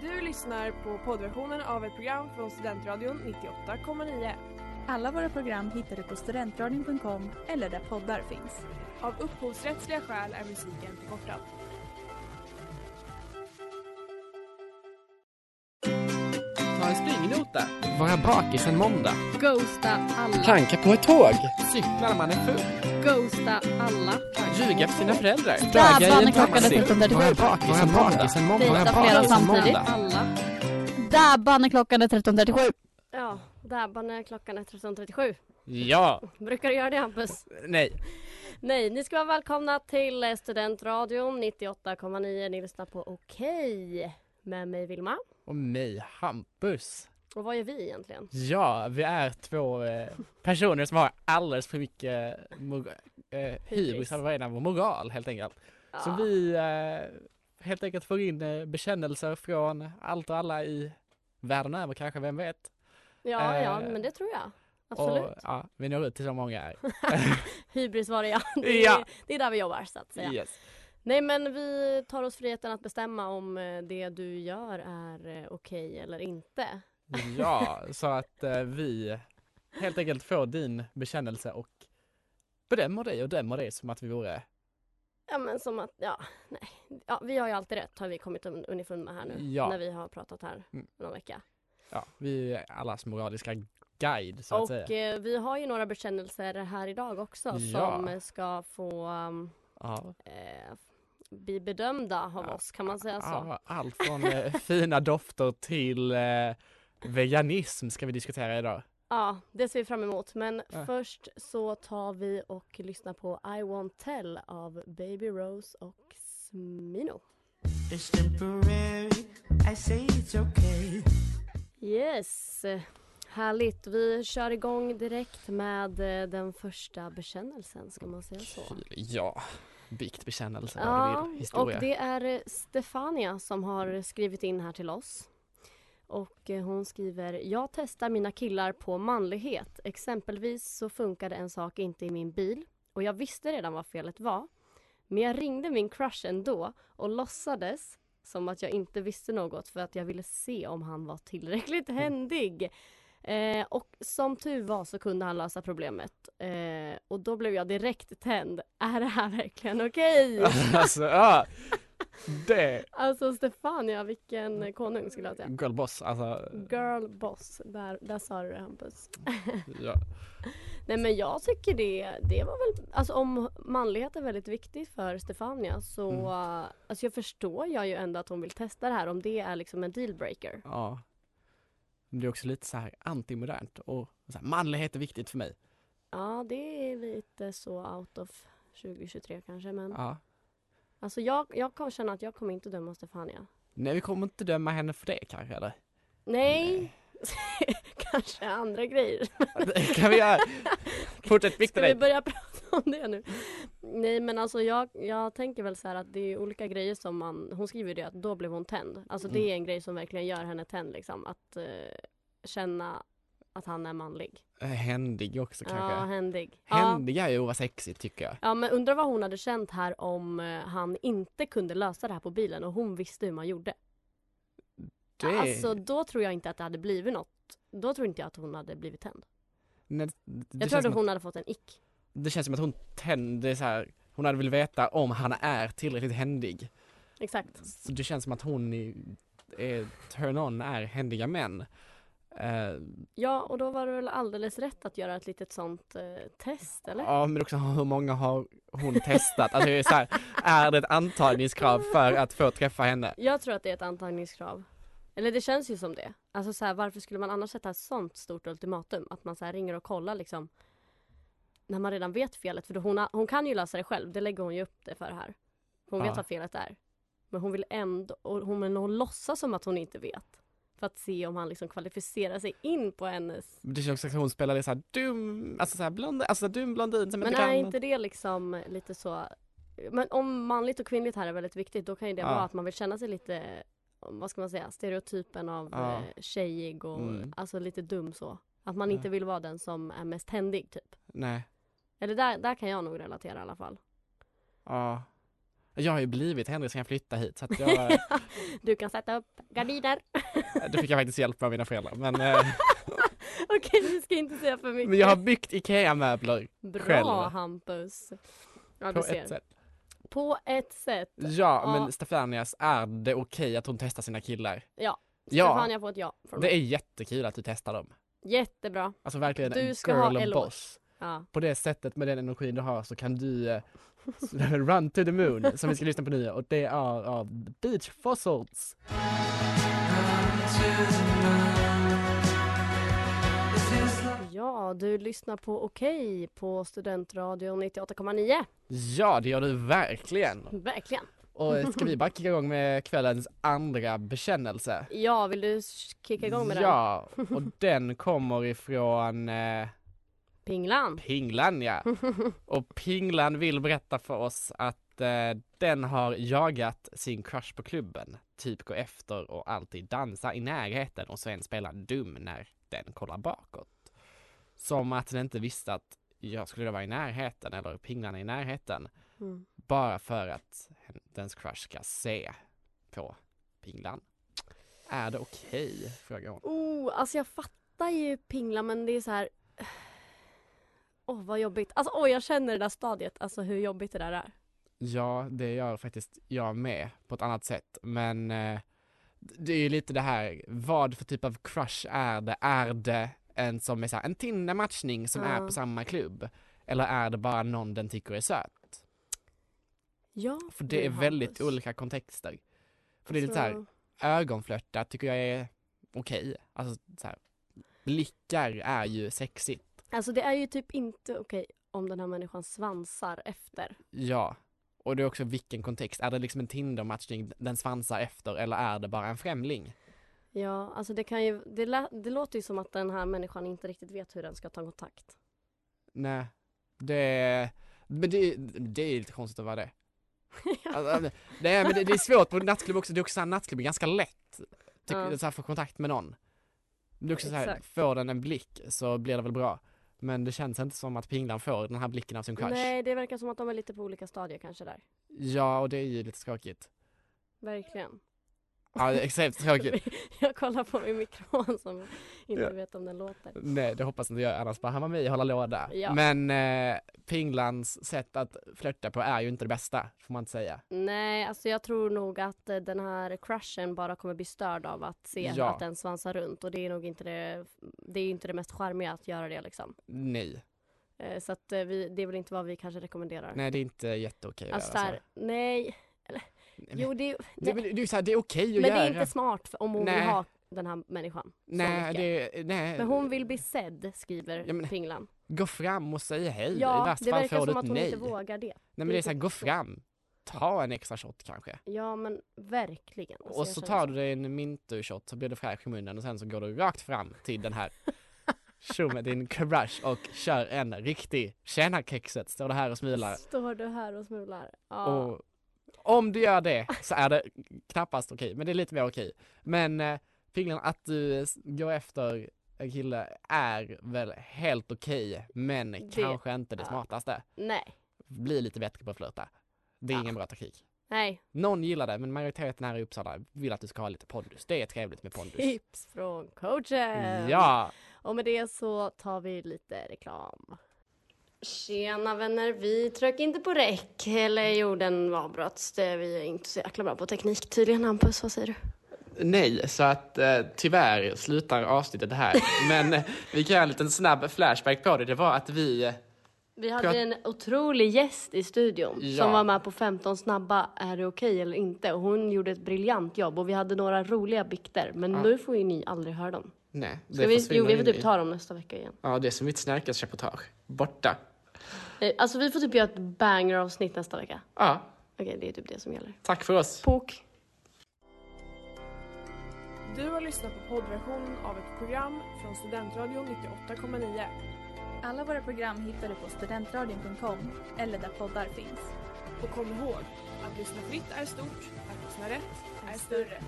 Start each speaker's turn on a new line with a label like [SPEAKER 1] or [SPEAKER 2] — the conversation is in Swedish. [SPEAKER 1] Du lyssnar på poddversionen av ett program från Studentradion 98,9.
[SPEAKER 2] Alla våra program hittar du på studentradion.com eller där poddar finns.
[SPEAKER 1] Av upphovsrättsliga skäl är musiken förkortad.
[SPEAKER 3] Ta en springnota. Vara bakis en måndag.
[SPEAKER 4] Ghosta alla.
[SPEAKER 5] Planka på ett tåg.
[SPEAKER 3] Cykla när man är full.
[SPEAKER 4] Ghosta alla.
[SPEAKER 3] Ljuga för sina föräldrar.
[SPEAKER 4] Dra
[SPEAKER 3] Daga i
[SPEAKER 4] svanen
[SPEAKER 3] en
[SPEAKER 4] klockan
[SPEAKER 3] taxi.
[SPEAKER 4] 17.37.
[SPEAKER 3] Vara bakis en måndag. en måndag.
[SPEAKER 4] Dejta
[SPEAKER 3] Vara
[SPEAKER 4] flera
[SPEAKER 3] bakis en
[SPEAKER 4] samtidigt.
[SPEAKER 3] måndag.
[SPEAKER 4] Alla. Dabban är klockan är 13.37.
[SPEAKER 6] Ja, dabban är klockan är 13.37.
[SPEAKER 3] Ja.
[SPEAKER 6] Brukar du göra det Hampus?
[SPEAKER 3] Nej.
[SPEAKER 6] Nej, ni ska vara välkomna till eh, Studentradion 98,9. Ni lyssnar på Okej med mig Vilma.
[SPEAKER 3] Och mig, Hampus.
[SPEAKER 6] Och vad gör vi egentligen?
[SPEAKER 3] Ja, vi är två eh, personer som har alldeles för mycket mor- eh, hybris,
[SPEAKER 6] Hybris.
[SPEAKER 3] eller vad är det, moral helt enkelt.
[SPEAKER 6] Ja,
[SPEAKER 3] Så vi eh, helt enkelt får in eh, bekännelser från allt och alla i världen över kanske, vem vet?
[SPEAKER 6] ja,
[SPEAKER 3] eh,
[SPEAKER 6] ja, men det tror jag. Absolut.
[SPEAKER 3] Och, ja, vi når ut till så många här.
[SPEAKER 6] Hybris var det ja. Det är,
[SPEAKER 3] Ja.
[SPEAKER 6] det är där vi jobbar så att säga.
[SPEAKER 3] Yes.
[SPEAKER 6] Nej men vi tar oss friheten att bestämma om eh, det du gör är eh, okej eller inte.
[SPEAKER 3] Ja, så att eh, vi helt enkelt får din bekännelse och bedömer dig och dömer dig som att vi vore...
[SPEAKER 6] Ja men som att, ja, nej. Ja, vi har ju alltid rätt har vi kommit un- underfund med här nu.
[SPEAKER 3] Ja.
[SPEAKER 6] När vi har pratat här
[SPEAKER 3] Mm.
[SPEAKER 6] någon vecka.
[SPEAKER 3] Ja, vi är allas moraliska guide så att
[SPEAKER 6] Och
[SPEAKER 3] säga.
[SPEAKER 6] eh, vi har ju några bekännelser här idag också
[SPEAKER 3] Ja.
[SPEAKER 6] som eh, ska få um,
[SPEAKER 3] Ja.
[SPEAKER 6] eh, bli bedömda av
[SPEAKER 3] Ja.
[SPEAKER 6] oss kan man säga så.
[SPEAKER 3] Ja, allt från eh, fina dofter till eh, veganism ska vi diskutera idag.
[SPEAKER 6] Ja, det ser vi fram emot. Men
[SPEAKER 3] Ja.
[SPEAKER 6] först så tar vi och lyssnar på I Won't Tell av Baby Rose och Smino.
[SPEAKER 7] It's temporary. I say it's okay.
[SPEAKER 6] Yes, härligt. Vi kör igång direkt med eh, den första bekännelsen, ska man säga så?
[SPEAKER 3] Ja, biktbekännelse vad
[SPEAKER 6] Ja,
[SPEAKER 3] du vill,
[SPEAKER 6] och
[SPEAKER 3] historia.
[SPEAKER 6] det är eh, Stefania som har skrivit in här till oss. Och eh, hon skriver, jag testar mina killar på manlighet. Exempelvis så funkade en sak inte i min bil och jag visste redan vad felet var. Men jag ringde min crush ändå och låtsades som att jag inte visste något för att jag ville se om han var tillräckligt händig. Eh, och som tur var så kunde han lösa problemet. Eh, och då blev jag direkt tänd. Är det här verkligen okej?
[SPEAKER 3] alltså, ja. Det.
[SPEAKER 6] Alltså Stefania,
[SPEAKER 3] Mm.
[SPEAKER 6] vilken konung skulle jag säga.
[SPEAKER 3] Girlboss, alltså.
[SPEAKER 6] Girl boss, där, där sa du det Hampus.
[SPEAKER 3] Ja.
[SPEAKER 6] Nej men jag tycker det, det var väl, alltså om manlighet är väldigt viktigt för Stefania så,
[SPEAKER 3] Mm.
[SPEAKER 6] eh, alltså jag förstår jag ju ändå att hon vill testa det här om det är liksom en dealbreaker.
[SPEAKER 3] Ja. Men det är också lite så här antimodernt och så här, manlighet är viktigt för mig.
[SPEAKER 6] Ja det är lite så out of 2023 kanske men
[SPEAKER 3] Ja.
[SPEAKER 6] alltså jag, jag kan känna att jag kommer inte döma Stefania.
[SPEAKER 3] Nej, vi kommer inte döma henne för det kanske eller?
[SPEAKER 6] Nej, kanske andra grejer.
[SPEAKER 3] Det kan vi göra. Fortsätt vikta
[SPEAKER 6] Ska vi
[SPEAKER 3] dig.
[SPEAKER 6] börja prata om det nu? Nej men alltså jag, jag tänker väl så här att det är olika grejer som man, hon skriver ju det att då blev hon tänd. Alltså
[SPEAKER 3] Mm.
[SPEAKER 6] det är en grej som verkligen gör henne tänd liksom. Att eh, känna att han är manlig.
[SPEAKER 3] Eh, Händig också
[SPEAKER 6] Ja,
[SPEAKER 3] kanske.
[SPEAKER 6] händig. Ja.
[SPEAKER 3] Händig är ju att vara sexig tycker jag.
[SPEAKER 6] ja men undrar vad hon hade känt här om eh, han inte kunde lösa det här på bilen och hon visste hur man gjorde.
[SPEAKER 3] Det,
[SPEAKER 6] Alltså då tror jag inte att det hade blivit något. Då tror inte jag att hon hade blivit tänd.
[SPEAKER 3] nej, det,
[SPEAKER 6] Jag
[SPEAKER 3] känns
[SPEAKER 6] tror
[SPEAKER 3] som
[SPEAKER 6] att
[SPEAKER 3] att,
[SPEAKER 6] hon hade fått en ick.
[SPEAKER 3] det känns som att hon tände så här. Hon hade velat veta om han är tillräckligt händig.
[SPEAKER 6] Exakt.
[SPEAKER 3] Så det känns som att hon i, är, turn on är händiga män. Eh,
[SPEAKER 6] Ja och då var det väl alldeles rätt att göra ett litet sånt eh, test eller?
[SPEAKER 3] Ja men också hur många har hon testat? Alltså det är, så här, är det ett antagningskrav för att få träffa henne?
[SPEAKER 6] Jag tror att det är ett antagningskrav. Eller det känns ju som det. Alltså så här, varför skulle man annars sätta ett sånt stort ultimatum? Att man så här ringer och kollar liksom. När man redan vet felet. För då hon, har- hon kan ju lösa det själv. Det lägger hon ju upp det för här. Hon
[SPEAKER 3] Ja.
[SPEAKER 6] vet vad felet är. Men hon vill ändå, och hon, men hon låtsas som att hon inte vet. För att se om han liksom kvalificerar sig in på hennes.
[SPEAKER 3] Det känns också som att hon spelade så här dum, alltså så här blond, alltså så här dum blondin som
[SPEAKER 6] Men
[SPEAKER 3] inte kan.
[SPEAKER 6] är inte det liksom lite så. Men om manligt och kvinnligt här är väldigt viktigt. Då kan ju det
[SPEAKER 3] Ja.
[SPEAKER 6] vara att man vill känna sig lite vad ska man säga, stereotypen av
[SPEAKER 3] Ja.
[SPEAKER 6] eh, tjejig och
[SPEAKER 3] Mm.
[SPEAKER 6] alltså lite dum så. Att man inte
[SPEAKER 3] Ja.
[SPEAKER 6] vill vara den som är mest händig typ.
[SPEAKER 3] Nej,
[SPEAKER 6] Eller där, där kan jag nog relatera i alla fall.
[SPEAKER 3] ja. Jag har ju blivit Henrik sen jag flyttade hit så att jag,
[SPEAKER 6] Du kan sätta upp gardiner.
[SPEAKER 3] det fick jag faktiskt hjälp av mina föräldrar. Men, eh,
[SPEAKER 6] Okej, vi ska inte säga för mycket.
[SPEAKER 3] men jag har byggt IKEA-möbler
[SPEAKER 6] Bra
[SPEAKER 3] själv.
[SPEAKER 6] Hampus.
[SPEAKER 3] på
[SPEAKER 6] Ja, du ser.
[SPEAKER 3] ett sätt.
[SPEAKER 6] På ett sätt.
[SPEAKER 3] Ja,
[SPEAKER 6] Ja.
[SPEAKER 3] men Stefanias, är det okej att hon testar sina killar?
[SPEAKER 6] Ja.
[SPEAKER 3] Ja,
[SPEAKER 6] Stefania får ett ja från
[SPEAKER 3] det
[SPEAKER 6] mig.
[SPEAKER 3] är jättekul att du testar dem.
[SPEAKER 6] Jättebra.
[SPEAKER 3] Alltså verkligen
[SPEAKER 6] Du
[SPEAKER 3] en
[SPEAKER 6] ska
[SPEAKER 3] girl
[SPEAKER 6] ha
[SPEAKER 3] and
[SPEAKER 6] eloge.
[SPEAKER 3] boss.
[SPEAKER 6] Ja.
[SPEAKER 3] På det sättet med den energin du har så kan du eh, run to the moon som vi ska lyssna på nu och det är av Beach Fossils.
[SPEAKER 6] ja, du lyssnar på Okej på Studentradion 98,9.
[SPEAKER 3] Ja, det gör du verkligen.
[SPEAKER 6] Verkligen.
[SPEAKER 3] Och eh, ska vi bara kicka igång med kvällens andra bekännelse?
[SPEAKER 6] Ja, vill du s- kicka igång med den?
[SPEAKER 3] Ja, och den kommer ifrån eh,
[SPEAKER 6] Pinglan.
[SPEAKER 3] Pinglan ja. Och Pinglan vill berätta för oss att eh, den har jagat sin crush på klubben. Typ gå efter och alltid dansa i närheten och sen spela dum när den kollar bakåt. Som att den inte visste att jag skulle vara i närheten eller Pinglan är i närheten.
[SPEAKER 6] Mm.
[SPEAKER 3] Bara för att hen- dens crush ska se på Pinglan. Är det okej? Frågar hon.
[SPEAKER 6] Oh, alltså jag fattar ju Pingla men det är så här... Åh, vad jobbigt. Alltså, åh, jag känner det där stadiet. Alltså hur jobbigt det där är.
[SPEAKER 3] Ja, det gör faktiskt jag med på ett annat sätt. Men eh, det är ju lite det här, vad för typ av crush är det? Är det en som är så här, en Tinder-matchning som är
[SPEAKER 6] Ja.
[SPEAKER 3] på samma klubb? Eller är det bara någon den tycker är söt?
[SPEAKER 6] Ja,
[SPEAKER 3] För det är
[SPEAKER 6] du,
[SPEAKER 3] väldigt
[SPEAKER 6] Hampus.
[SPEAKER 3] olika kontexter. För det är lite så här,
[SPEAKER 6] Alltså,
[SPEAKER 3] ögonflörta tycker jag är okej. Alltså så här, blickar är ju sexigt.
[SPEAKER 6] Alltså det är ju typ inte okej om den här människan svansar efter.
[SPEAKER 3] Ja. Och det är också vilken kontext. Är det liksom en Tinder-matchning den svansar efter eller är det bara en främling?
[SPEAKER 6] Ja, alltså det kan ju, det, lä, det låter ju som att den här människan inte riktigt vet hur den ska ta kontakt.
[SPEAKER 3] Nej, det, men det, det är lite konstigt att vara det. Alltså, nej men det, det är svårt på nattklubb också, det är också så här, nattklubb är ganska lätt tyck,
[SPEAKER 6] Ja.
[SPEAKER 3] så här, få kontakt med någon. Det är också så här,
[SPEAKER 6] Exakt.
[SPEAKER 3] får den en blick så blir det väl bra. Men det känns inte som att pinglan får den här blicken av sin crush.
[SPEAKER 6] Nej, det verkar som att de är lite på olika stadier kanske där.
[SPEAKER 3] Ja och det är ju lite skakigt.
[SPEAKER 6] Verkligen.
[SPEAKER 3] Ja det är extremt tråkigt.
[SPEAKER 6] Jag kollar på min mikrofon som inte
[SPEAKER 3] Ja.
[SPEAKER 6] vet om den låter.
[SPEAKER 3] Nej det hoppas inte jag annars bara han var med och hålla låda.
[SPEAKER 6] Ja.
[SPEAKER 3] Men eh, pinglans sätt att flirta på är ju inte det bästa, får man inte säga.
[SPEAKER 6] Nej, alltså jag tror nog att eh, den här crushen bara kommer bli störd av att se
[SPEAKER 3] Ja.
[SPEAKER 6] att den svansar runt och det är nog inte det, det är ju inte det mest charmiga att göra det liksom.
[SPEAKER 3] Nej,
[SPEAKER 6] Eh, Så att eh, vi, det är väl inte vad vi kanske rekommenderar.
[SPEAKER 3] nej det är inte jätteokej att
[SPEAKER 6] alltså
[SPEAKER 3] göra så.
[SPEAKER 6] där, nej,
[SPEAKER 3] Nej, men-
[SPEAKER 6] jo det, är-
[SPEAKER 3] Det,
[SPEAKER 6] nej,
[SPEAKER 3] är väl- det är ju såhär, det är okej
[SPEAKER 6] men
[SPEAKER 3] att
[SPEAKER 6] det
[SPEAKER 3] göra.
[SPEAKER 6] är inte smart för, om hon
[SPEAKER 3] Nej.
[SPEAKER 6] vill ha den här människan. så
[SPEAKER 3] nej,
[SPEAKER 6] mycket.
[SPEAKER 3] det, nej.
[SPEAKER 6] Men hon vill bli sedd, skriver
[SPEAKER 3] Ja, men-
[SPEAKER 6] Pinglan.
[SPEAKER 3] Gå fram och säg hej. I
[SPEAKER 6] Ja,
[SPEAKER 3] värsta
[SPEAKER 6] det
[SPEAKER 3] fall
[SPEAKER 6] verkar
[SPEAKER 3] får du
[SPEAKER 6] som
[SPEAKER 3] ett
[SPEAKER 6] att hon
[SPEAKER 3] nej.
[SPEAKER 6] inte vågar det.
[SPEAKER 3] Nej men det är såhär, gå fram. Ta en extra shot kanske.
[SPEAKER 6] Ja, men verkligen. Alltså,
[SPEAKER 3] och
[SPEAKER 6] jag
[SPEAKER 3] så
[SPEAKER 6] känner
[SPEAKER 3] tar du dig en mintu-shot så blir du fräsch i munnen och sen så går du rakt fram till den här tjommen, din crush och kör en riktig tjena kexet, står du här och smilar.
[SPEAKER 6] Står du här och smular? Ja.
[SPEAKER 3] Och om du gör det så är det knappast okej, men det är lite mer okej. Men eh, Pinglan, att du s- går efter en kille är väl helt okej, men kanske inte det
[SPEAKER 6] ja.
[SPEAKER 3] smartaste.
[SPEAKER 6] Nej,
[SPEAKER 3] Bli lite bättre på att flirta. Det är
[SPEAKER 6] Ja.
[SPEAKER 3] ingen bra taktik.
[SPEAKER 6] nej.
[SPEAKER 3] Någon gillar det, men majoriteten här i Uppsala vill att du ska ha lite pondus. Det är trevligt med pondus.
[SPEAKER 6] Tips från coachen!
[SPEAKER 3] Ja!
[SPEAKER 6] Och med det så tar vi lite reklam. Tjena vänner, vi tryckte inte på räck. Eller jo, den avbröts. Det- Vi är inte så jäkla bra på teknik tydligen. Hampus, vad säger du?
[SPEAKER 3] Nej, så att eh, tyvärr slutar avsnittet här. Men eh, vi kan göra en liten snabb flashback på det. Det var att vi eh,
[SPEAKER 6] Vi hade
[SPEAKER 3] Prat-
[SPEAKER 6] en otrolig gäst i studion
[SPEAKER 3] Ja.
[SPEAKER 6] som var med på 15 snabba, är det okej eller inte? Och hon gjorde ett briljant jobb och vi hade några roliga bikter men nu får ju ni aldrig höra dem.
[SPEAKER 3] Nej,
[SPEAKER 6] Ska vi, jo, vi får
[SPEAKER 3] in
[SPEAKER 6] typ
[SPEAKER 3] i-
[SPEAKER 6] ta dem nästa vecka igen.
[SPEAKER 3] Ja, det är som mitt snärkesreportage. Borta.
[SPEAKER 6] Eh, Alltså vi får typ göra ett banger-avsnitt nästa vecka.
[SPEAKER 3] Ja,
[SPEAKER 6] Okej, det är typ det som gäller.
[SPEAKER 3] tack för oss.
[SPEAKER 6] Pok!
[SPEAKER 1] Du har lyssnat på poddversionen av ett program från Studentradion 98,9.
[SPEAKER 2] Alla våra program hittar du på studentradion.com eller där poddar finns.
[SPEAKER 1] Och kom ihåg, att lyssna fritt är stort, att lyssna rätt är större.